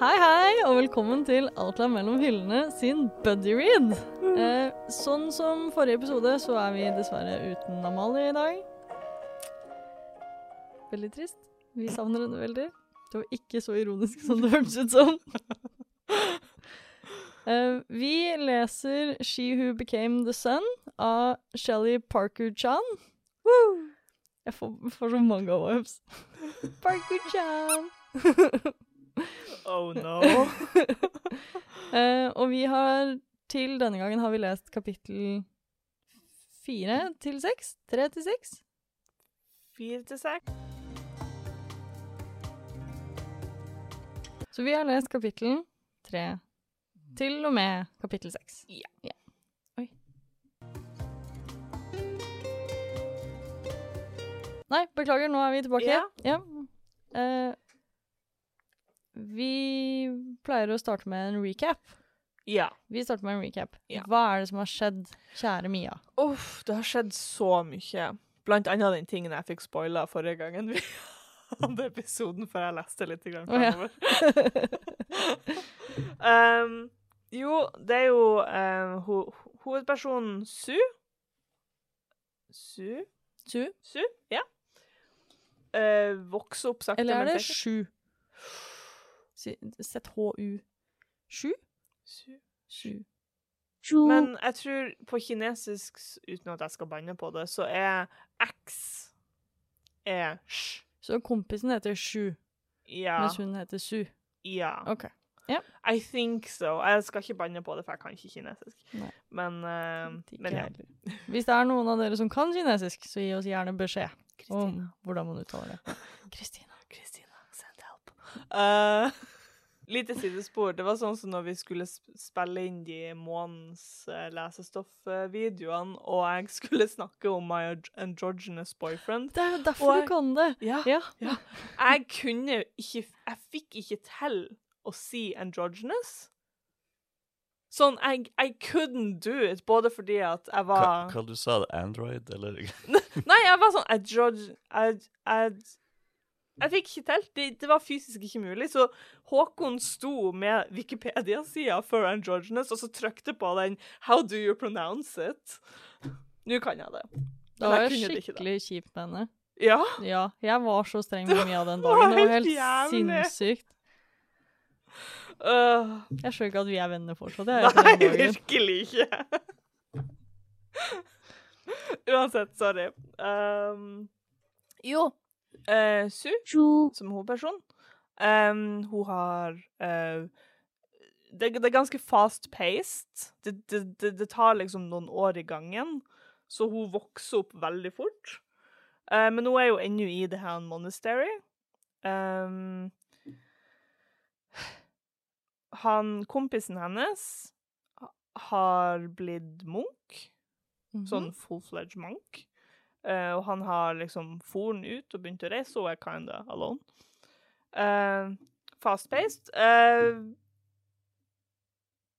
Hei, hei, og velkommen til Alt er mellom hyllene sin buddy read. Eh, sånn som forrige episode, så er vi dessverre uten Amalie i dag. Veldig trist. Vi savner henne veldig. Det var ikke så ironisk som det hørtes ut som. Eh, vi leser She Who Became the Sun av Shelly Parker-chan. Jeg får, får så mange vibes. Parker-chan. Oh no. Eh, og vi har til denne gangen har vi lest kapittel fire til seks. Tre til seks. Fire til seks. Så vi har lest kapittel tre til og med kapittel seks. Ja. Oi. Nei, beklager, nå er vi tilbake. Ja. Eh, vi pleier å starte med en recap. Ja. Vi starter med en recap. Ja. Hva er det som har skjedd, kjære Mia? Uff, det har skjedd så mye. Blant annet den tingen jeg fikk spoila forrige gangen vi hadde episoden, før jeg leste litt grann Å, ja. fremover. um, jo, det er jo um, ho ho- hovedpersonen Su. Su? Su? Su, ja. Eh, vokser opp sakte, Eller er men det sikkert. sju? ZHU. Sju? Su. Sju. Men jeg tror på kinesisk, s- uten at jeg skal banne på det, så er X er sj. Så kompisen heter Sju, Ja. mens hun heter Su. ja. OK. I think so. Jeg skal ikke banne på det, for jeg kan ikke kinesisk. Nei. Men, eh, Ikke men ja. heller. Hvis det er noen av dere som kan kinesisk, så gi oss gjerne beskjed om Kristina. hvordan man uttaler det. Kristina. Kristina, send help. Eh, lite sidespor. Det var sånn som når vi skulle sp- spille inn de månens eh, lesestoffvideoene, og jeg skulle snakke om my androgynous boyfriend. Det er jo Og derfor jeg- du kan det! Ja. Ja. Jeg kunne ikke Jeg fikk ikke til å si androgynous. Sånn, I, I couldn't do it, både fordi at jeg var Hva, hva du sa du? Android, eller? Nei, jeg var sånn adrog... Ad, ad, jeg fikk ikke til. Det, det var fysisk ikke mulig. Så Håkon sto med Wikipedia-sida for androgynous, og så trykte på den 'How do you pronounce it?' Nå kan jeg det. Det Men var jeg kunne det ikke da. skikkelig kjipt med henne. Ja. Ja, jeg var så streng med Mia den var dagen. Det var helt helt jævlig. sinnssykt. øh. Jeg skjønner ikke at vi er venner fortsatt. jeg, etter Nei, den dagen. virkelig ikke. Uansett, sorry. Um, jo. eh, Su, som hovedperson, um, hun har eh, det, det er ganske fast-paced. Det, det, det, det tar liksom noen år i gangen, så hun vokser opp veldig fort. Eh, men hun er jo ennå i The Hand Monastery. Um, han, kompisen hennes har blitt munk, Mhm. sånn full-fledged munk. Eh, og han har liksom foren ut og begynt å reise, og er kinda alone. Eh, Fast-paced. Eh,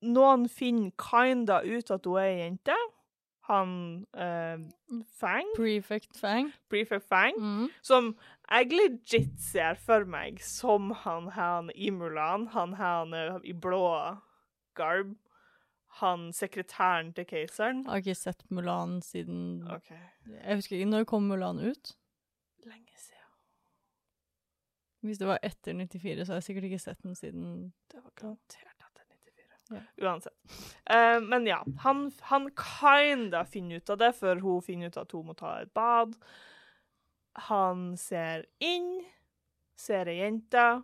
noen finner kinda ut at hun er ei jente. Han eh, Fang, Prefect Fang. prefect Fang, Mm. som jeg legit ser for meg som han her i Mulan, han her i blå garb, han sekretæren til keiseren. Jeg har ikke sett Mulan siden OK. Jeg husker ikke når kom Mulan ut. Lenge siden. Hvis det var etter 94, så har jeg sikkert ikke sett den siden Det var garantert etter 94. Ja. Uansett. Eh, men ja, han, han kinda finner ut av det, for hun finner ut at hun må ta et bad. Han ser inn, ser ei jente,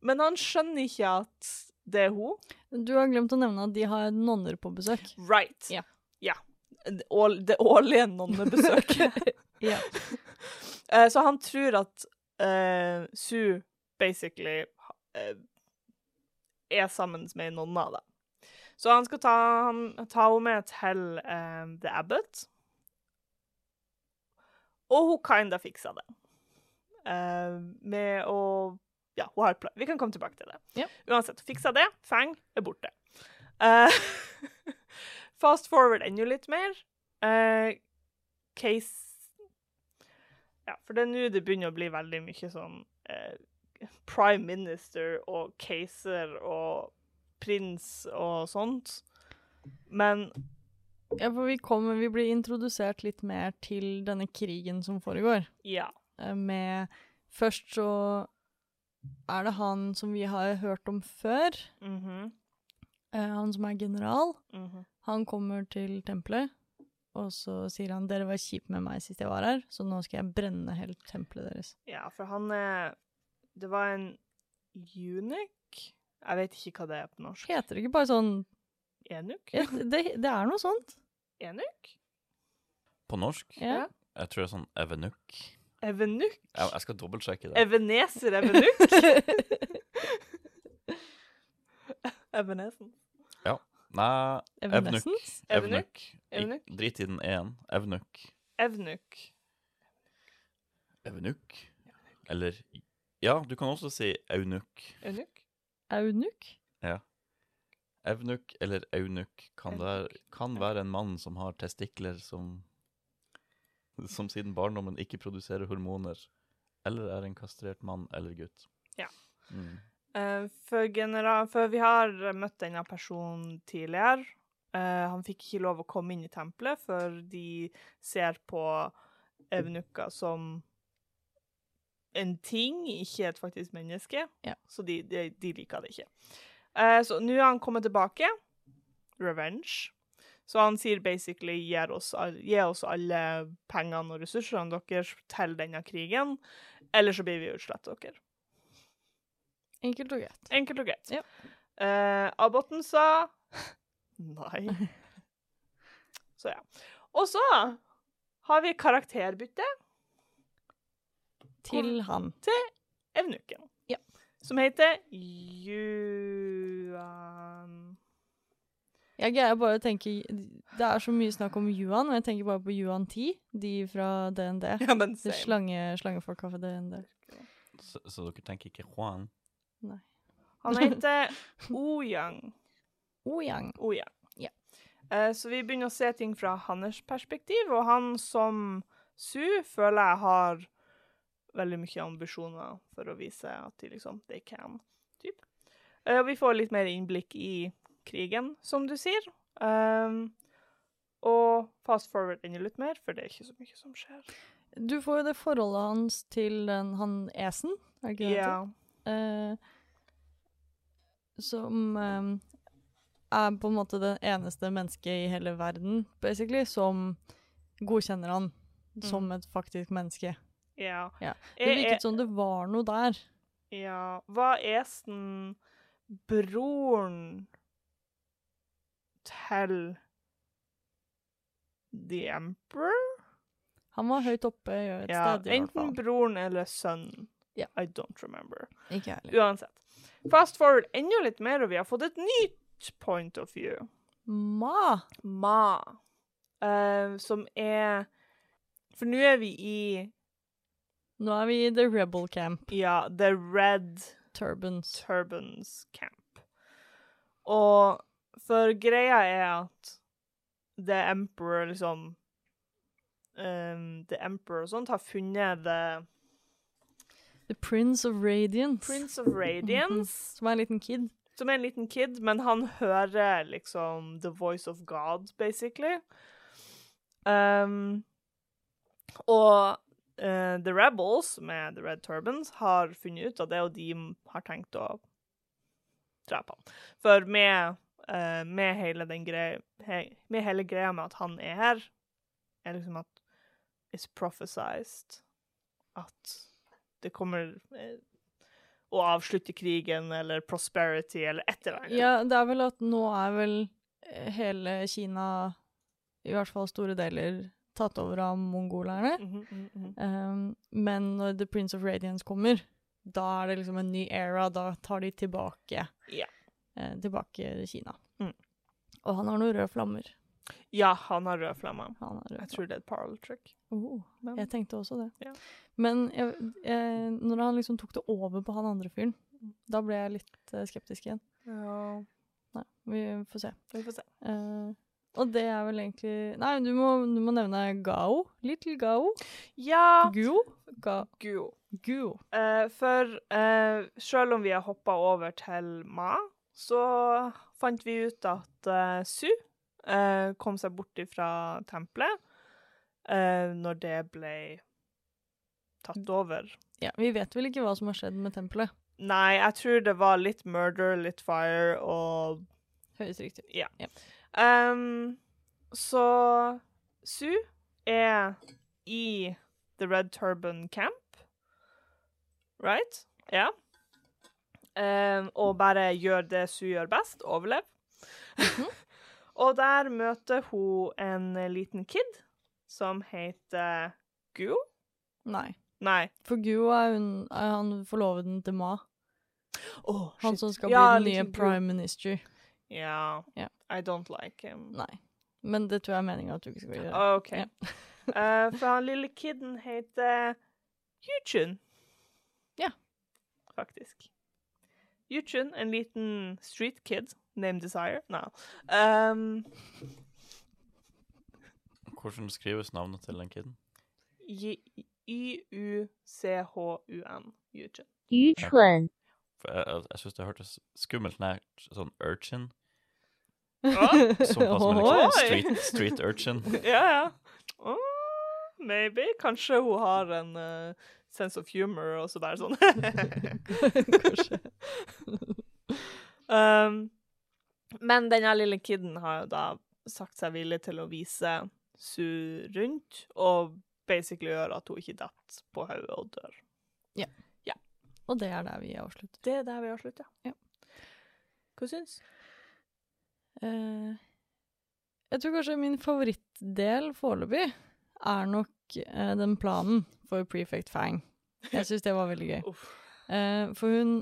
men han skjønner ikke at det er hun. Du har glemt å nevne at de har nonner på besøk. Right. Ja. Ja. Det ål- det årlige nonnebesøket. Ja. Eh, så han tror at eh, Sue basically eh, er sammen med ei nonne av det. Så han skal ta, han, ta henne med til eh, The Abbot. Og hun kinda fiksa det. Eh, med å Ja, hun har et plan. Vi kan komme tilbake til det. Ja. Uansett, fiksa det. Fang er borte. Eh, fast forward enda litt mer. Eh, case ja, for det er nå det begynner å bli veldig mye sånn eh, prime minister og keiser og prins og sånt. Men Ja, for vi, kommer, vi blir introdusert litt mer til denne krigen som foregår. ja. Eh, Med Først så er det han som vi har hørt om før. mhm, eh, Han som er general. mhm. Han kommer til tempelet, og så sier han 'Dere var kjipe med meg sist jeg var her, så nå skal jeg brenne helt tempelet deres'. Ja, for han er Det var en eunuch? Jeg vet ikke hva det er på norsk. Heter det ikke bare sånn Enuk? Ja, Det, det er noe sånt. Enuk? På norsk? Ja. Jeg tror det er sånn evenukk. Evenuk? Jeg, jeg skal dobbeltsjekke det. Eveneser Evenuk? Evenesen. Nei, evenukk. Evanescence? Evenukk. Evenukk? Ik- Drit i den én. Evenukk. Evnuk. Evenukk? Eller Ja, du kan også si eunukk. Eunuk? Aunuk? Evnukk eller eunukk kan, være- kan være en mann som har testikler som Som siden barndommen ikke produserer hormoner, eller er en kastrert mann eller gutt. Ja. Mm. Eh, for, general, for vi har møtt denne personen tidligere. Eh, han fikk ikke lov å komme inn i tempelet, for de ser på evnukker som en ting, ikke et faktisk menneske. Ja. Så de, de, de liker det ikke. Eh, så nå er han kommet tilbake. Revenge. Så han sier basically gi oss, all- gi oss alle pengene og ressursene deres til denne krigen, eller så blir vi utslett dere. Enkelt og greit. Enkelt og greit. Ja. Eh, Abboten sa nei. Så ja. Og så har vi karakterbytte Til han. Evnuken. Ja. Som heter Juan Jeg greier bare å tenke Det er så mye snakk om Yuan, og jeg tenker bare på Yuan Ti, de fra DND. Ja, men De same. slange, slangefolka fra DND. Så, så dere tenker ikke Juan? Han heter Oyang. Ouyang. Oyang. Ja. Oh, Eh, så vi begynner å se ting fra hans perspektiv, og han som Su føler jeg har veldig mye ambisjoner for å vise at de liksom They can. Typ. Eh, og vi får litt mer innblikk i krigen, som du sier. Um, og fast forward enda litt mer, for det er ikke så mye som skjer. Du får jo det forholdet hans til den, han esen, er det ikke det? han heter? Ja. eh, som eh, er på en måte det eneste mennesket i hele verden, basically, som godkjenner han Mm. som et faktisk menneske. ja. Ja. Det Jeg- jeg- virket som det var noe der. Ja, var Esen broren til The Emperor? Han var høyt oppe i et Ja, sted, i hvert enten fall. broren eller sønnen. Ja. I don't remember. Ikke jeg heller. Uansett. Fast forward enda litt mer, og vi har fått et nytt point of view. Ma! Ma, eh, som er For nå er vi i Nå er vi i The Rebel Camp, ja, The Red Turbans. Turbans camp. Og for greia er at The Emperor liksom ehm, The Emperor og sånt har funnet The The Prince of Radiance. Prince of Radiance, Som er en liten kid. som er en liten kid, men han hører liksom The Voice of God, basically. Ehm, og eh, The Rebels, med The Red Turbans, har funnet ut av det, og de har tenkt å drepe han. For med, eh, med, hele den greia, he, med hele greia med at han er her, er liksom at it's prophesized at det kommer eh, å avslutte krigen eller prosperity eller et eller annet. Ja, det er vel at nå er vel eh, hele Kina, i hvert fall store deler, tatt over av mongolerne. Mhm, mhm, mhm. Um, men når The Prince of Radiance kommer, da er det liksom en ny era. Da tar de tilbake Ja. eh, tilbake Kina. Mm. Og han har noen røde flammer. ja, han har rød flamme. Han har røde Jeg tror det er et parallel trick. Oh, Men- jeg tenkte også det. Ja. Men jeg, eh, når han liksom tok det over på han andre fyren, da ble jeg litt eh, skeptisk igjen. Ja, Nei, vi får se. vi får se. Eh, Og det er vel egentlig Nei, du må, du må nevne Gao. Little Gao. Ja, Guo. Ga, Guo. Guo. Eh, for eh, selv om vi har hoppa over til Ma, så fant vi ut at eh, Su eh, kom seg bort fra tempelet eh, når det ble tatt over. Ja, vi vet vel ikke hva som har skjedd med tempelet. Nei, jeg tror det var litt murder, litt fire og Høres riktig ut. Ehm, Så Sue er i The Red Turban Camp, right? Ja. Ehm, og bare gjør det Sue gjør best, overlev. Mhm. og der møter hun en liten kid som heter Guo. Nei. Nei. For Guo er, hun, er han forloveden til Ma. Oh, Han som skal Ja, bli den nye liten Guo. prime minister. Ja. Ja. I don't like him. Nei. Men det tror jeg er meninga at du ikke skal gjøre. OK. Ja. Eh, for han lille kiden heter Yuchun. Ja. Faktisk. Yuchun, en liten street kid. Name Desire? Nei. Ehm, Hvordan skrives navnet til den kiden? J- Y-U-C-H-U-N. Yuchun. 愚蠢， For jeg jeg, jeg syns det hørtes skummelt nært sånn urchin. Såpass med Ohoi. liksom Oi. street, street urchin. Ja, ja. Oh, maybe. Kanskje hun har en eh, sense of humor og så bare sånn. Kanskje. Um, men denne lille kiden har jo da sagt seg villig til å vise Su rundt, og basically gjøre at hun ikke datt på hodet og dør. Og det er der vi avslutter. Det er der vi har slutt, Ja. Hva syns? Eh, jeg tror kanskje min favorittdel foreløpig er nok eh, den planen for Prefect Fang. Jeg syns det var veldig gøy. Uff. Eh, for hun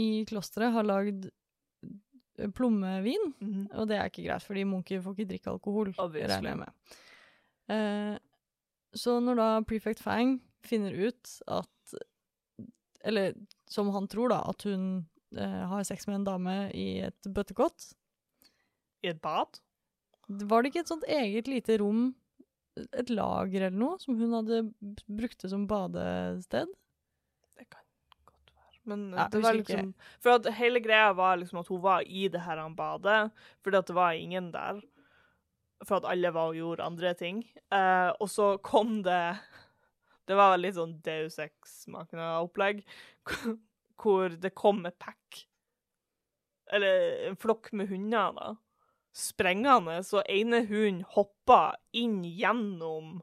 i klosteret har lagd eh, plommevin, Mhm. og det er ikke greit, fordi munker får ikke drikke alkohol. Obviously. regner jeg med. Eh, så når da Prefect Fang finner ut at Eller som han tror, da, at hun eh, har sex med en dame i et bøttekott I et bad? Var det ikke et sånt eget lite rom, et lager eller noe, som hun hadde b- brukt det som badested? Det kan godt være. Men Ja, det husker var ikke. liksom For at hele greia var liksom at hun var i det her badet, fordi at det var ingen der. For at alle var og gjorde andre ting. Eh, og så kom det Det var litt sånn Deus Ex-makende opplegg, hvor det kom et pack. Eller en flokk med hunder, da. Sprengende. Så ene hunden hoppa inn gjennom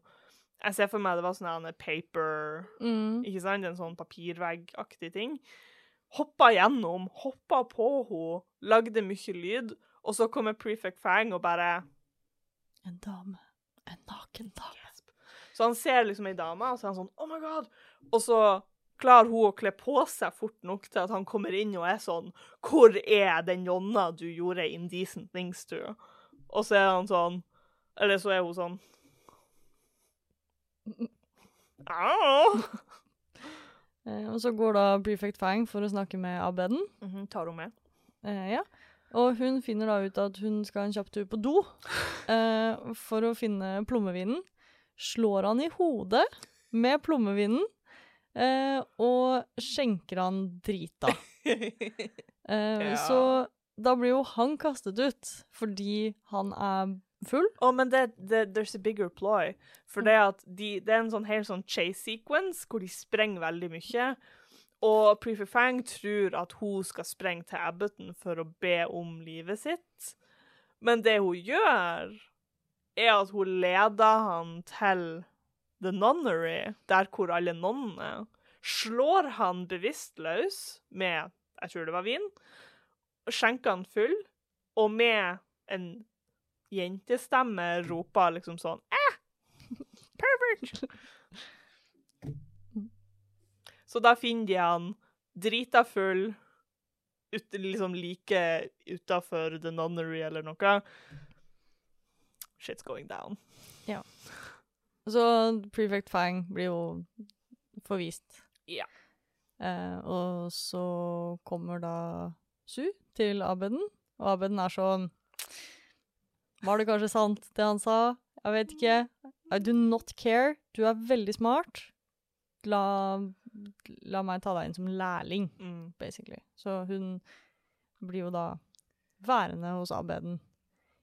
Jeg ser for meg det var sånn her paper Mm. ikke sant? En sånn papirveggaktig ting. Hoppa gjennom, hoppa på henne, lagde mye lyd, og så kommer Prefect Fang og bare En dame. En naken dame. Så han ser liksom ei dame, og så er han sånn Oh my God! Og så klarer hun å kle på seg fort nok til at han kommer inn og er sånn Hvor er den jonna du gjorde indecent things to? Og så er han sånn Eller så er hun sånn Au! Eh, og så går da Prefect Fang for å snakke med Abeden. Mhm, Tar hun med? Eh, ja. Og hun finner da ut at hun skal en kjapp tur på do eh, for å finne plommevinen. Slår han i hodet med plommevinen eh, og skjenker han drita. Eh, Ja. Så da blir jo han kastet ut fordi han er full. Å, men det, det, there's a bigger ploy. For det, at de, det er en sånn helt sånn chase-sequence hvor de sprenger veldig mye. Og Prefer Fang tror at hun skal sprenge til Abboten for å be om livet sitt. Men det hun gjør, er at hun leder han til The Nunnery, der hvor alle nonnene er. Slår han bevisstløs med, jeg tror det var vin, skjenker han full, og med en jentestemme roper liksom sånn eh, Pervert! Så da finner de han drita full, ut, liksom like utafor The Nunnery eller noe. Shit's going down. Så Prefect Fang blir jo forvist. Ja. Eh, og så kommer da Su til Abeden, og Abeden er sånn Var det kanskje sant, det han sa? Jeg vet ikke. I do not care. Du er veldig smart. La, la meg ta deg inn som lærling, Mm. basically. Så hun blir jo da værende hos Abeden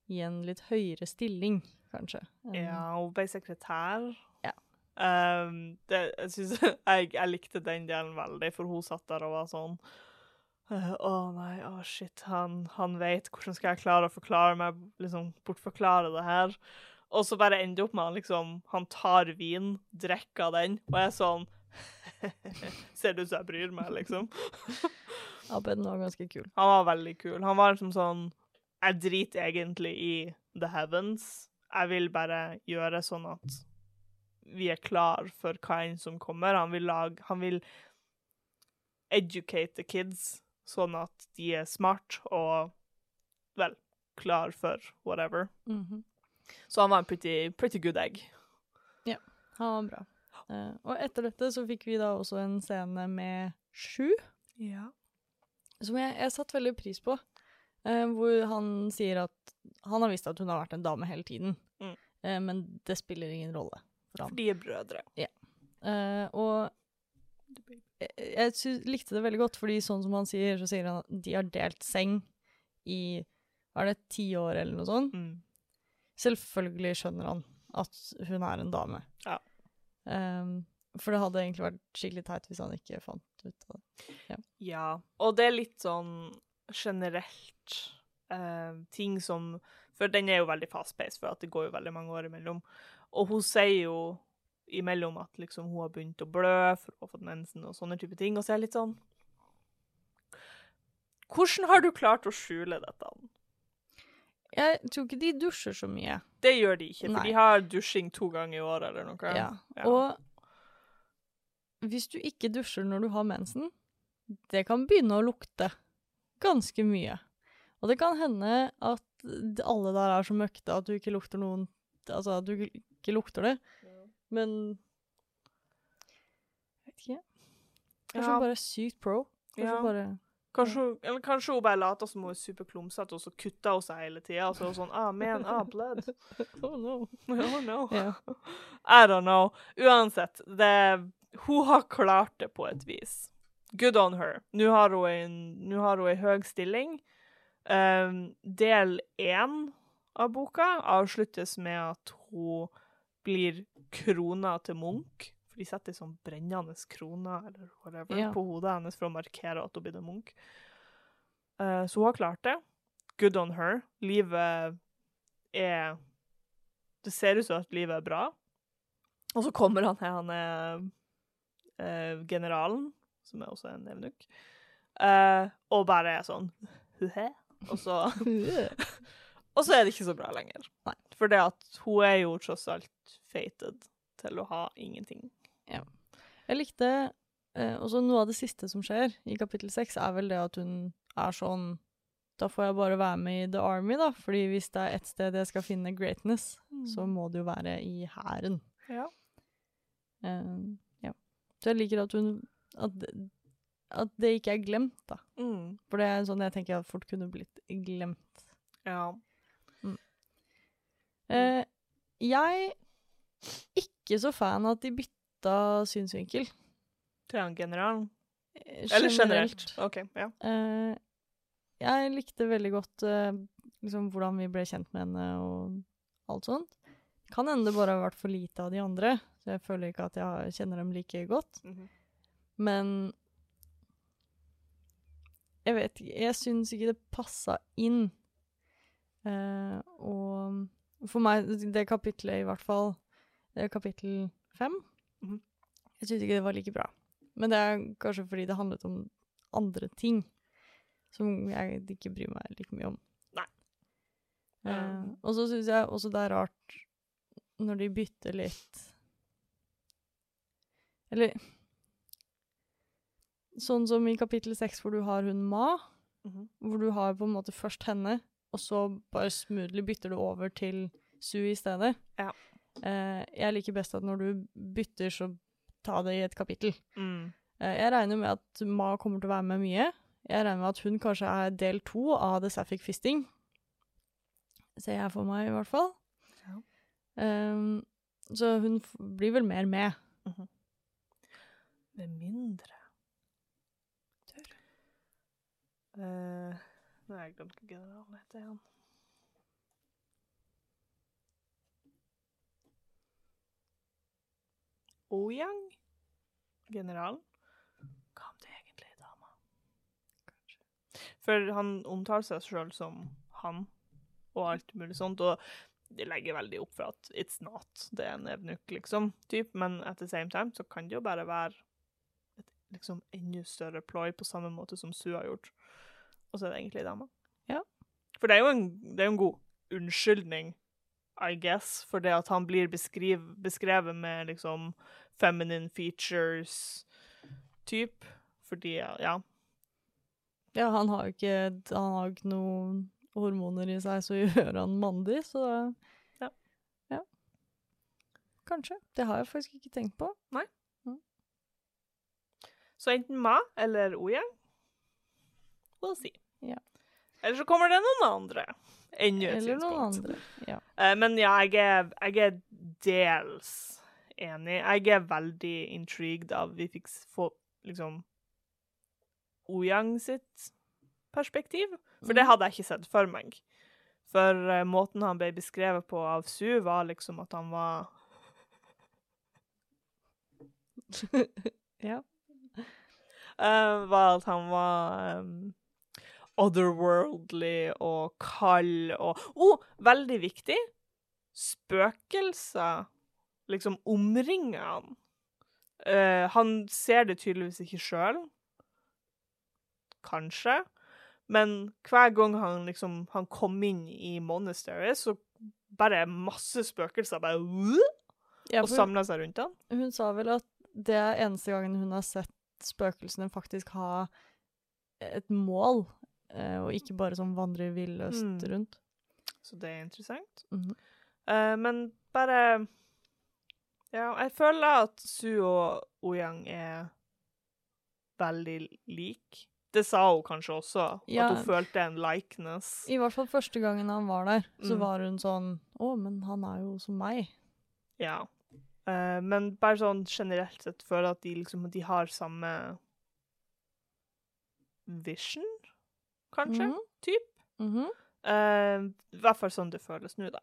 i en litt høyere stilling, kanskje. enn- Ja, hun ble sekretær. Ja. Ehm, det, jeg, synes, jeg, jeg likte den delen veldig, for hun satt der og var sånn eh, Å nei, å shit, han, han vet hvordan skal jeg klare å forklare meg, liksom bortforklare det her. Og så bare ender det opp med han liksom Han tar vin, drikker av den, og jeg er sånn Ser det ut som jeg bryr meg, liksom. Abeden var ganske kul. Han var veldig kul. Han var liksom sånn Jeg driter egentlig i the heavens. Jeg vil bare gjøre sånn at vi er klar for hva enn som kommer. Han vil lage Han vil educate the kids sånn at de er smart og vel klar for whatever. Mhm. Så han var en pretty, pretty good egg. Han var bra. Eh, og etter dette så fikk vi da også en scene med Sju. Ja. som jeg, jeg satt veldig pris på. eh, hvor han sier at han har visst at hun har vært en dame hele tiden. Mm. eh, men det spiller ingen rolle for For ham. de er brødre. Eh, og jeg, jeg sy- likte det veldig godt, fordi sånn som han sier, så sier han at de har delt seng i Var det ti år, eller noe sånt? Mm. Selvfølgelig skjønner han at hun er en dame. Ja. Eh, for det hadde egentlig vært skikkelig teit hvis han ikke fant ut av det. Ja, og det er litt sånn generelt eh, ting som For den er jo veldig fast-paced, for at det går jo veldig mange år imellom. Og hun sier jo imellom at liksom hun har begynt å blø, for hun har fått mensen og sånne type ting, og så er jeg litt sånn Hvordan har du klart å skjule dette? Jeg tror ikke de dusjer så mye. Det gjør de ikke, for Nei. de har dusjing to ganger i året eller noe. Ja. Og hvis du ikke dusjer når du har mensen, det kan begynne å lukte ganske mye. Og det kan hende at d- alle der er så møkte at du ikke lukter noen Altså at du ikke- ikke lukter det, men Jeg vet ikke. Kanskje Ja. hun bare er sykt pro. Kanskje Ja. hun bare Kanskje, hun- eller kanskje hun bare later som hun er superklumsete, og så kutter hun seg hele tida. Og så er hun sånn Ah, man, ah, bled. Oh no. Oh, no. Ja. I don't know. Uansett, det, hun har klart det på et vis. Good on her. Nå har hun en, nå har hun en høy stilling. Um, del én av boka avsluttes med at hun blir krona til Munch. For de setter sånn brennende krone eller whatever Ja. på hodet hennes for å markere at hun blir en Munch. Eh, så hun har klart det. Good on her. Livet er Det ser ut som at livet er bra. Og så kommer han her, han er eh, generalen, som er også en evnuk, og bare er sånn «Huhe», og så, og så er det ikke så bra lenger. Nei. For det at hun er jo tross alt fated til å ha ingenting. Jeg likte eh, også noe av det siste som skjer i kapittel seks, er vel det at hun er sånn Da får jeg bare være med i The Army, da. Fordi hvis det er ett sted jeg skal finne greatness, så må det jo være i hæren. Mm. Ja. Eh, ja. Så jeg liker at hun at, det- at det ikke er glemt, da. Mm. For det er sånn jeg tenker at fort kunne blitt glemt. Ja. Eh, jeg ikke så fan av at de bytta synsvinkel. Til han generalen. eh, Eller generelt. OK. Ja. Eh, jeg likte veldig godt eh, liksom, hvordan vi ble kjent med henne og alt sånt. Kan hende det bare har vært for lite av de andre, så jeg føler ikke at jeg har- kjenner dem like godt. Mhm. Men jeg vet ikke Jeg syns ikke det passa inn. Eh, og for meg, det kapitlet i hvert fall, det er kapittel fem, Mhm. jeg syns ikke det var like bra. Men det er kanskje fordi det handlet om andre ting som jeg ikke bryr meg like mye om. Nei. Eh, Um. og så syns jeg også det er rart når de bytter litt Eller Sånn som i kapittel seks, hvor du har hun Ma, Mhm. hvor du har på en måte først henne, og så bare smoothly bytter du over til Sue i stedet. Ja. Eh, jeg liker best at når du bytter, så ta det i et kapittel. Mm. Eh, Jeg regner med at Ma kommer til å være med mye. Jeg regner med at hun kanskje er del to av The Sapphic Fisting. ser jeg for meg, i hvert fall. Ja. Ehm, så hun f blir vel mer med. Med mindre Tør. Eh, nå har jeg glemt hva generalen heter igjen. Ouyang? Generalen? Hva om det egentlig er dama? Kanskje. For han omtaler seg sjøl som han, og alt mulig sånt. Og de legger veldig opp for at it's not, det er en evnuk, liksom, typ, men at the same time så kan det jo bare være et liksom enda større ploy på samme måte som Sue har gjort. Og så er det egentlig dama. Ja. For det er jo en, det er jo en god unnskyldning, I guess, for det at han blir beskriv, beskrevet med liksom feminine features typ, fordi, ja, Ja, han har jo ikke, han har jo ikke noen hormoner i seg som gjør han mandig, så Ja. ja. Kanskje. Det har jeg faktisk ikke tenkt på. så enten Ma eller Ouyang, we'll see. Ja. Eller så kommer det noen andre. Enda et Eller noen tidspunkt. andre. Ja. Eh, men ja, jeg er, jeg er dels enig. Jeg er veldig intrigued av vi fikk s- få liksom Ouyang sitt perspektiv. For det hadde jeg ikke sett for meg. For eh, måten han ble beskrevet på av Su, var liksom at han var ja. eh, var at han var em, otherworldly og kald og oh, veldig viktig! Spøkelser liksom omringer han. Eh, han ser det tydeligvis ikke sjøl. Kanskje. Men hver gang han liksom han kom inn i monastery, så bare masse spøkelser bare ja og for samla seg rundt han. hun sa vel at det er eneste gangen hun har sett spøkelsene faktisk ha et mål, eh, og ikke bare som vandrer villøst Mm. rundt. Så det er interessant. Mhm. Eh, men bare Ja, jeg føler at Su og Ouyang er veldig like. Det sa hun kanskje også, Ja. at hun følte en likeness. I hvert fall første gangen han var der, så Mm. var hun sånn Å, men han er jo som meg. Ja. Eh, men bare sånn generelt sett føler jeg at de liksom de har samme vision, kanskje? Mhm. Typ. Mhm. Eh, I hvert fall sånn det føles nå, da.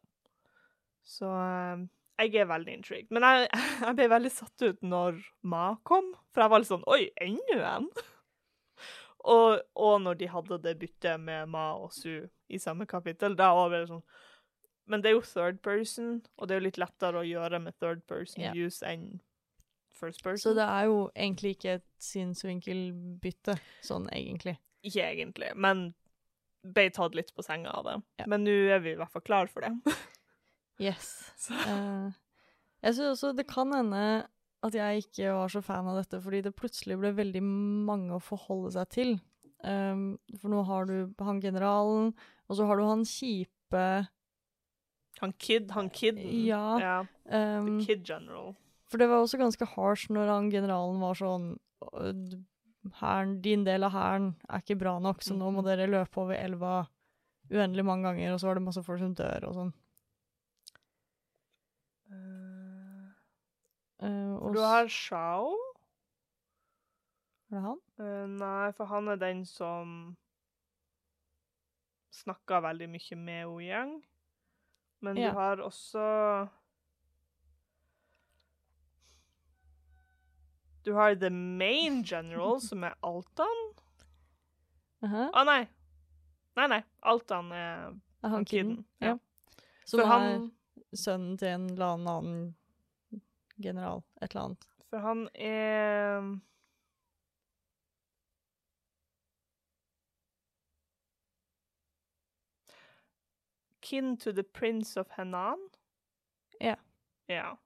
Så eh, jeg er veldig intrigued. Men jeg, jeg ble veldig satt ut når Ma kom, for jeg var litt sånn Oi, enda en? og, og når de hadde det byttet med Ma og Su i samme kapittel, da var det sånn Men det er jo third person, og det er jo litt lettere å gjøre med third person Ja. use enn first person. Så det er jo egentlig ikke et sinnsvinkelbytte, sånn egentlig. Ikke egentlig, men ble tatt litt på senga av det. Ja. Men nå er vi i hvert fall klar for det. Yes. Så. Eh, jeg synes også det kan hende at jeg ikke var så fan av dette, fordi det plutselig ble veldig mange å forholde seg til. Um, for nå har du han generalen, og så har du han kjipe Han kid, han kidden. Ja. ja. um, The Kid General. For det var også ganske harsh når han generalen var sånn «Å, d- Hæren, din del av hæren er ikke bra nok, så Mm. nå må dere løpe over elva uendelig mange ganger, og så var det masse folk som dør og sånn. Eh, og For du s- har Shao. Var det han? Eh, nei, for han er den som snakker veldig mye med Ouyang. Men Ja. du har også Du har The Main General, som er Altan. Aha, Å, nei. Nei, nei. Altan er Er han han kiden? kiden. Ja. Ja. Som for, han, er sønnen til en eller annen annen general, et eller annet. for han er kin to the prince of Henan. Ja. Yeah.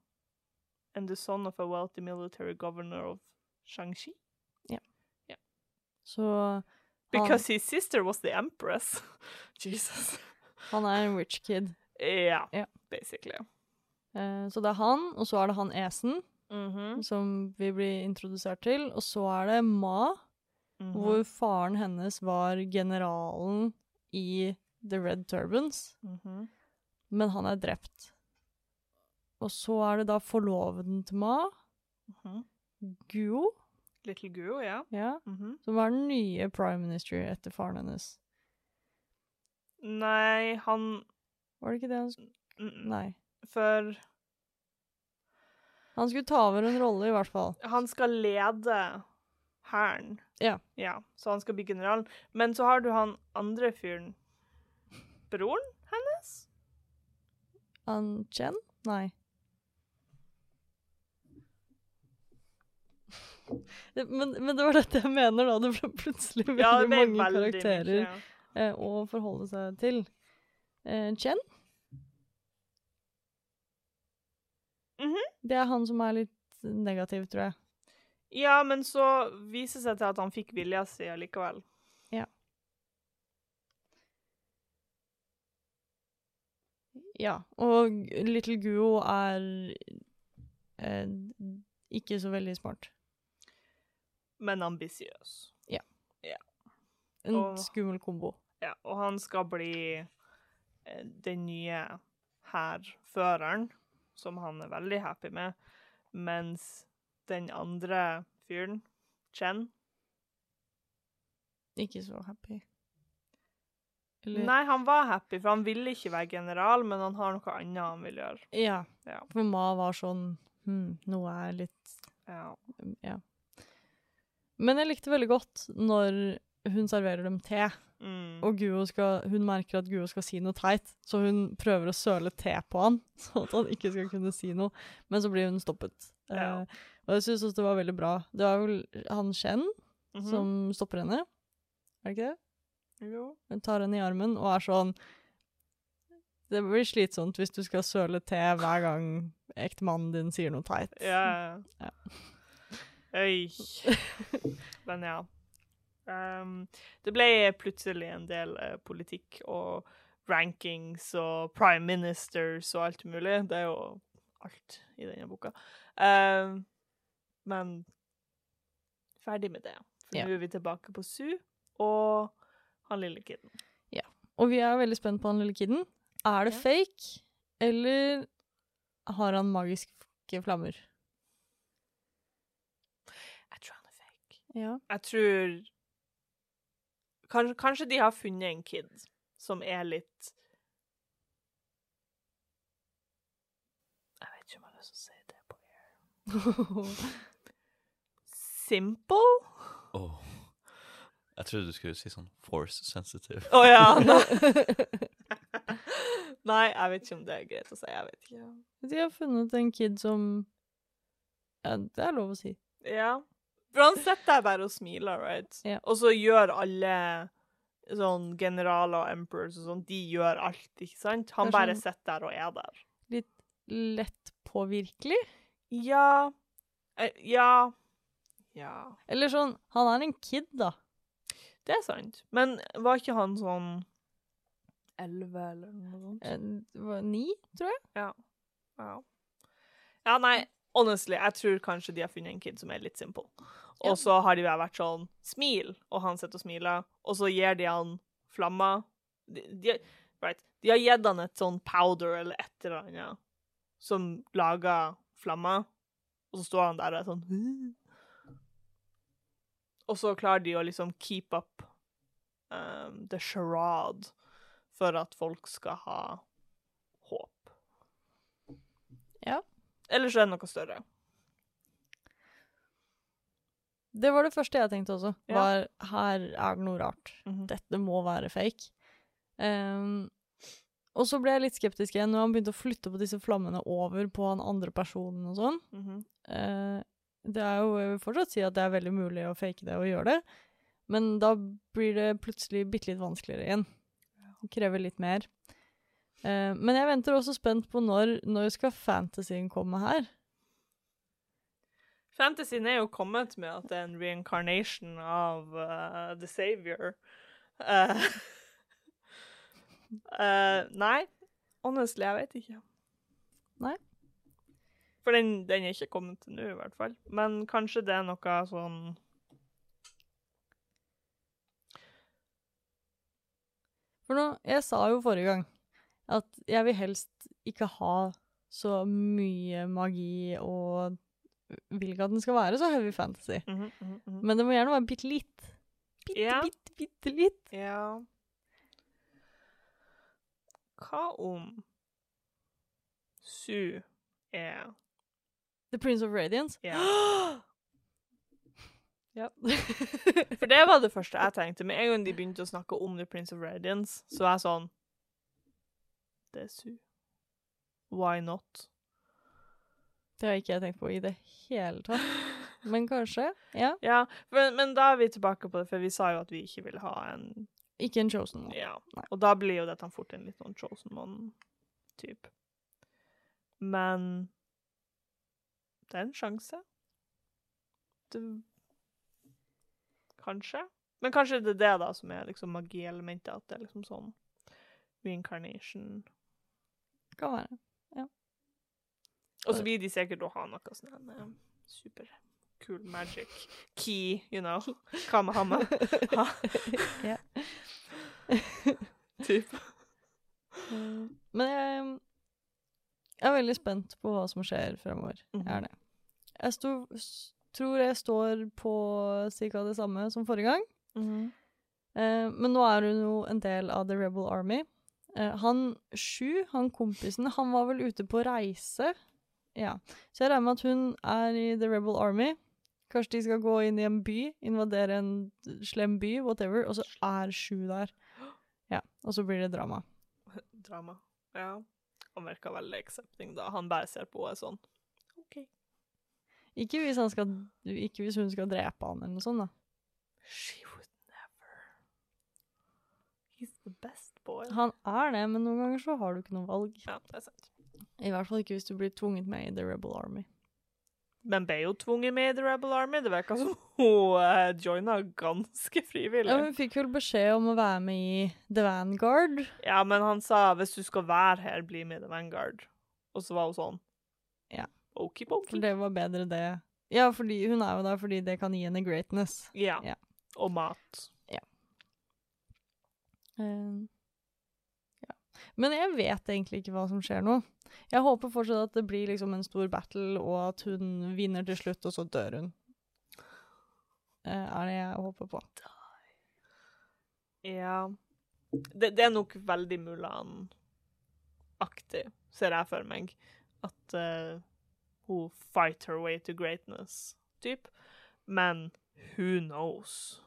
And the son of a wealthy military governor of Shangxi. Så han, Because his sister was the empress. Jesus. han er en rich kid. Ja, Ja. basically. Eh, så det er han, og så er det han esen, Mm-hmm. Mhm, som vi blir introdusert til. Og så er det Ma, mhm. hvor faren hennes var generalen i The Red Turbans. Mhm. men han er drept. Og så er det da forloveden til Ma, Mhm. Guo, Little Guo, ja. ja, Mhm. som er den nye prime minister etter faren hennes. Nei, han Var det ikke det han skulle mm, Nei. For Han skulle ta over en rolle, i hvert fall. han skal lede hæren. Ja. ja. Så han skal bli generalen. Men så har du han andre fyren. Broren hennes? Han Chen? Nei. Det, men, men det var dette jeg mener, da. Det ble plutselig veldig Ja, det ble mange veldig mye, karakterer ja. eh, å forholde seg til. Eh, Chen? Mhm. Det er han som er litt negativ, tror jeg. Ja, men så viser det seg til at han fikk vilja si allikevel. Ja. Og Little Guo er eh, ikke så veldig smart. Men ambisiøs. En Åh. skummel kombo. Ja, og han skal bli eh, den nye hærføreren, som han er veldig happy med, mens den andre fyren, Chen Ikke så happy. Nei, han var happy, for han ville ikke være general, men han har noe annet han vil gjøre. Ja. Ja. For Ma var sånn hm, Noe er litt Ja. Ja. Men jeg likte veldig godt når hun serverer dem te, Mm. og Guo skal, hun merker at Guo skal si noe teit, så hun prøver å søle te på han, sånn at han ikke skal kunne si noe. Men så blir hun stoppet. Ja. Eh, og jeg syns også det var veldig bra. Det var vel han Chen Mhm. som stopper henne, er det ikke det? Jo. Hun tar henne i armen og er sånn Det blir slitsomt hvis du skal søle te hver gang ektemannen din sier noe teit. Ja. Ja. Øy. Men ja. Ehm, det ble plutselig en del eh, politikk og rankings og prime ministers og alt mulig. Det er jo alt i denne boka. Ehm, men ferdig med det. For Ja. nå er vi tilbake på Sue og han lille kiden. Og vi er veldig spent på han lille kiden. Er det Ja. fake, eller har han magiske flammer? Jeg tror han er fake. Ja. Jeg tror kanskje, kanskje de har funnet en kid som er litt Jeg vet ikke om jeg har lyst til å si det på air. Simple? Åh. Jeg trodde du skulle si sånn force sensitive. Å ja. Nei. nei, jeg vet ikke om det er greit å si. Jeg vet ikke. De har funnet en kid som Ja, det er lov å si. Ja. For han sitter der bare og smiler, right? Ja. Og så gjør alle sånn generaler og emperors og sånn, de gjør alt, ikke sant? Han Det er bare sånn- sitter der og er der. Lett påvirkelig. Ja eh, Ja. Ja. Eller sånn Han er en kid, da. Det er sant. Men var ikke han sånn Elleve eller noe sånt? En- hva, Ni, tror jeg. Ja. ja, nei, honestly, jeg tror kanskje de har funnet en kid som er litt simple. Ja. Og så har de bare vært sånn Smil! Og han sitter og smiler, og så gir de han flammer. De, de, right. de har gitt han et sånn powder eller et eller annet som lager flammer, og så står han der og er sånn «Hu». Og så klarer de å liksom keep up um, the charade for at folk skal ha håp. Eller så er det noe større. Det var det første jeg tenkte også. Ja. Var her er det noe rart. Mhm. Dette må være fake. Ehm, og så ble jeg litt skeptisk igjen når han begynte å flytte på disse flammene over på han andre personen og sånn. Mhm. Eh, det er jo, jeg vil fortsatt si at det er veldig mulig å fake det og gjøre det, men da blir det plutselig bitte litt vanskeligere igjen. Det krever litt mer. Eh, men jeg venter også spent på når, når skal fantasyen komme her? Fantasyen er jo kommet med at det er en reincarnation av eh, The Savior. Eh, eh, nei, honestly, jeg vet ikke. Nei. For den, den er ikke kommet til nå, i hvert fall. Men kanskje det er noe sånn For nå, jeg sa jo forrige gang At jeg vil helst ikke ha så mye magi og vil ikke at den skal være så heavy fantasy. Mhm, mhm, mhm. Men det må gjerne være bitte litt. Bitte, Ja. bitte, bitte litt. Ja Hva om Su er The Prince of Radiance. Ja. For det var det første jeg tenkte. Med en gang de begynte å snakke om The Prince of Radiance, så var jeg sånn Det er Su. Why not? det har ikke jeg tenkt på i det hele tatt. Men kanskje. Ja. Ja, men, men da er vi tilbake på det, for vi sa jo at vi ikke vil ha en Ikke en chosen one. Ja. Nei. Og da blir jo dette fort en litt sånn chosen one-type. Men det er en sjanse. Det Kanskje. Men kanskje det er det da som er liksom magielementet, at det er liksom sånn reincarnation. Kan være. Og så blir de sikkert å ha noe sånn en eh, super cool magic key, you know. Kamehame. Ja. Typ. Mm. Men jeg, jeg er veldig spent på hva som skjer fremover. Mhm. Jeg er det. Jeg sto, s- tror jeg står på ca. det samme som forrige gang. Eh, men nå er hun jo en del av The Rebel Army. Eh, han Sju, han kompisen, han var vel ute på reise. Ja. Så jeg regner med at hun er i The Rebel Army. Kanskje de skal gå inn i en by, invadere en slem by, whatever, og så er Sju der. Ja, og så blir det drama. Drama. Ja. Han virker veldig accepting, da. Han bare ser på og er sånn OK. Ikke hvis, han skal, ikke hvis hun skal drepe han eller noe sånt, da. She would never. He's the best boy. Han er det, men noen ganger så har du ikke noe valg. Ja, det er sant. I hvert fall ikke hvis du blir tvunget med i The Rebel Army. Men ble jo tvunget med i The Rebel Army. Det virka som hun uh, joina ganske frivillig. Ja, hun fikk vel beskjed om å være med i The Vanguard. Ja, men han sa hvis du skal være her, bli med i The Vanguard. Og så var hun sånn. Ja. Okipoki. For det var bedre det. Ja, fordi hun er jo der fordi det kan gi henne greatness. Ja. Ja. Og mat. Eh, ja. Men jeg vet egentlig ikke hva som skjer nå. Jeg håper fortsatt at det blir liksom en stor battle, og at hun vinner til slutt, og så dør hun. Eh, er det jeg håper på. Ja. Det, det er nok veldig Mulan-aktig, ser jeg for meg. At eh, hun fight her way to greatness, typ. Men who knows?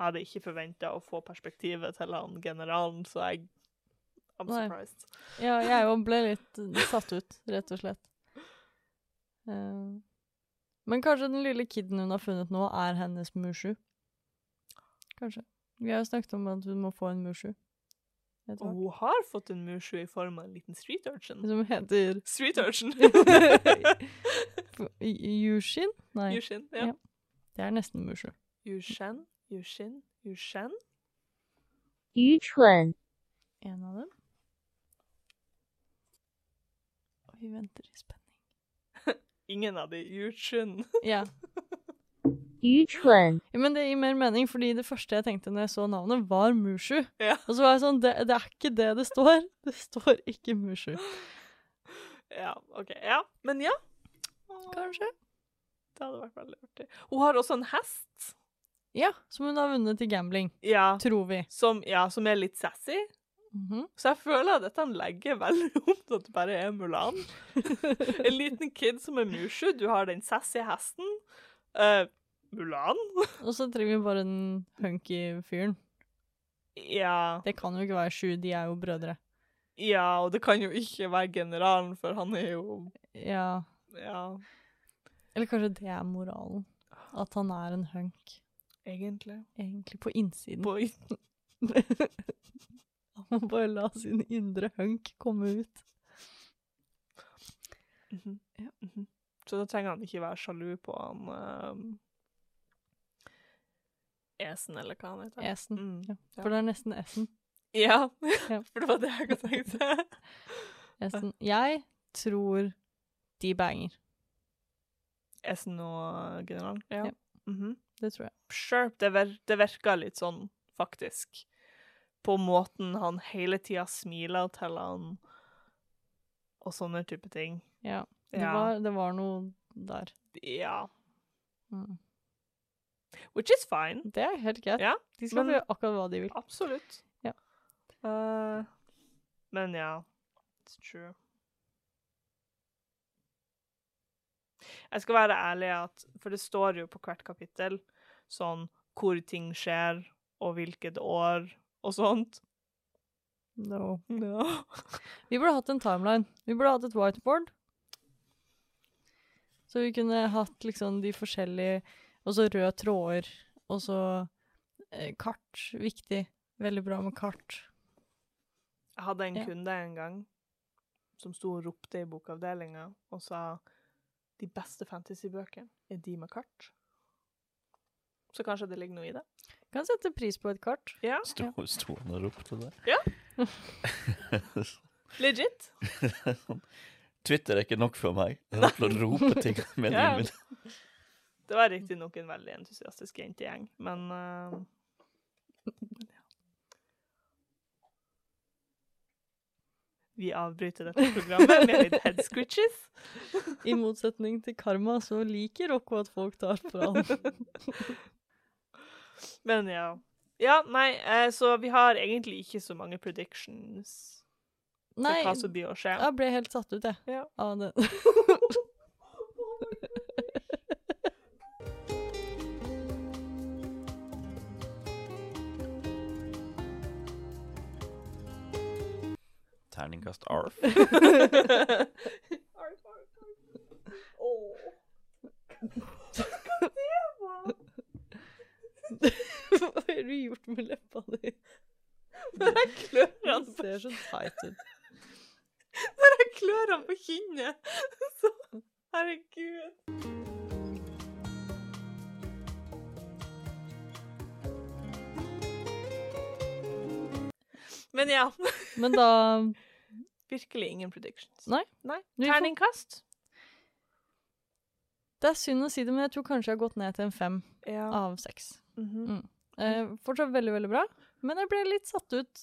Jeg hadde ikke forventa å få perspektivet til han generalen, så jeg I'm Nei. surprised. Ja, jeg jo ble litt satt ut, rett og slett. Eh, men kanskje den lille kiden hun har funnet nå, er hennes Mushu. Kanskje. Vi har jo snakket om at hun må få en Mushu. Vet du Og hva? hun har fått en Mushu i form av en liten street urchin. Som heter Street urchin! Yushin? Nei, Yushin, ja. Ja. det er nesten Mushu. Yushin, Yushin, Yushin. 愚蠢， En av dem. Og vi venter i spenning. Ingen av de Yushin. Ja. 愚蠢， Ja, Men det gir mer mening, fordi det første jeg tenkte når jeg så navnet, var Mushu. Ja. Og så var jeg sånn, det, det er ikke det det står. Det står ikke Mushu. Ja, OK. Ja. Men ja. Kanskje? Det hadde vært veldig artig. Hun har også en hest. Ja, som hun har vunnet i gambling, Ja. tror vi. Som, ja, som er litt sassy. Mhm. Så jeg føler at dette legger veldig om til at det bare er Mulan. en liten kid som er Mushu. Du har den sassy hesten. Eh, Mulan? Og så trenger vi bare den hunky fyren. Ja. Det kan jo ikke være sju, de er jo brødre. ja, og det kan jo ikke være generalen, for han er jo Ja, Ja, eller kanskje det er moralen. At han er en hunk, egentlig. egentlig på innsiden. På Han må bare la sin indre hunk komme ut. Mhm. Ja. Mhm. Så da trenger han ikke være sjalu på han ehm, Esen, eller hva han heter. Esen. Mm. Ja. For det er nesten S-en. Ja, Ja. for det var det jeg hadde tenkt. Esen. Jeg tror de banger. Esen og generalen. Ja. Mhm. Det tror jeg. Sure, det, vir det virker litt sånn, faktisk. på måten han hele tida smiler til han, og sånne type ting. Ja. Det, Ja. Var, det var noe der. Ja. Mm. Which is fine. Det er helt greit. Ja, de skal men- få gjøre akkurat hva de vil. Absolutt. Ja. Eh, men ja, it's true. Jeg skal være ærlig, at, for det står jo på hvert kapittel sånn hvor ting skjer, og hvilket år, og sånt. No. Ja. Vi burde hatt en timeline. Vi burde hatt et whiteboard. Så vi kunne hatt liksom de forskjellige Og så røde tråder. Og så eh, kart. Viktig. Veldig bra med kart. Jeg hadde en Ja. kunde en gang som sto og ropte i bokavdelinga og sa de beste fantasybøkene er de med kart. Så kanskje det ligger noe i det. Kan sette pris på et kart. Ja, Sto, sto han og ropte det? Ja. Ja. Legit. Twitter er ikke nok for meg. Jeg er nødt til å rope ting med Ja. livet. Det var riktignok en veldig entusiastisk jentegjeng, men eh, Vi avbryter dette programmet med litt head scritches. I motsetning til karma, så liker Rocco at folk tar fra han. Men ja. Ja, nei, eh, så vi har egentlig ikke så mange predictions Nei, for hva som blir å skje. jeg ble helt satt ut, jeg. Ja. Av det. Terningkast arf. Hva har du gjort med leppa di? Den ser så teit ut. Når jeg klør han på kinnet, så Herregud. Men ja. Men da Virkelig ingen predictions. Nei. Vi får- Terningkast? Det er synd å si det, men jeg tror kanskje jeg har gått ned til en fem Ja. Mhm. av seks. Eh, fortsatt veldig, veldig bra, men jeg ble litt satt ut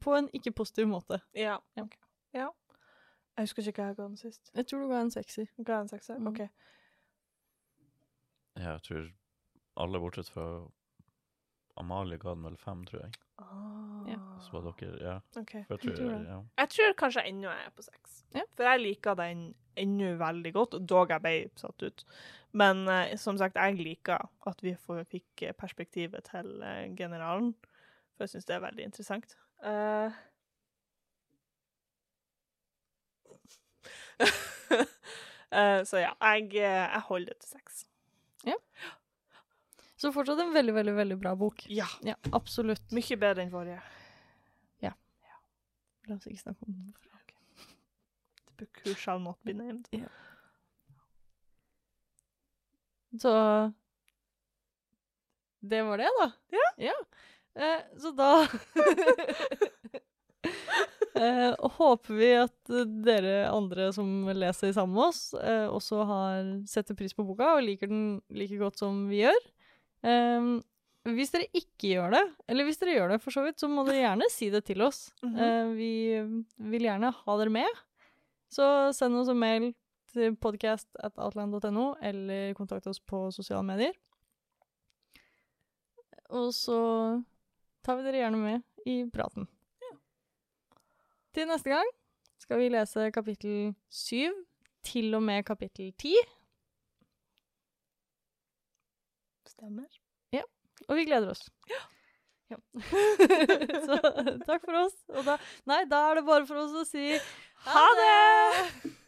på en ikke-positiv måte. ja. Ja. ok. ja. Jeg husker ikke hva jeg ga den sist. Jeg tror du ga en sekser. Ga jeg en sekser? Mhm. OK. Ja, jeg tror alle bortsett fra Amalie ga den vel fem, tror jeg. Ah. Ja. Så var dere Ja. OK. For jeg Jeg tror, tror det. ja. Jeg tror kanskje ennå jeg er på seks. Ja. For jeg liker den ennå veldig godt, og dog jeg ble satt ut. Men eh, som sagt, jeg liker at vi får, fikk eh, perspektivet til eh, generalen, for jeg syns det er veldig interessant. Eh. Eh, så ja, jeg, eh, jeg holder det til seks. Så fortsatt en veldig, veldig, veldig bra bok. Ja. Ja, absolutt. Mye bedre enn forrige. La oss ikke snakke om den. The book who shall not be named. Så Det var det, da. Ja. Eh, så da eh, håper vi at eh, dere andre som leser sammen med oss, eh, også har setter pris på boka og liker den like godt som vi gjør. Ehm, hvis dere ikke gjør det, eller hvis dere gjør det for så vidt, så må dere gjerne si det til oss. Mhm. Eh, vi vil gjerne ha dere med. Så send oss en mail til podcast.outland.no, eller kontakt oss på sosiale medier. Og så tar vi dere gjerne med i praten. Til neste gang skal vi lese kapittel 7, til og med kapittel 10, Stemmer. og vi gleder oss. Ja. så takk for oss. Og da, nei, da er det bare for oss å si Ha det!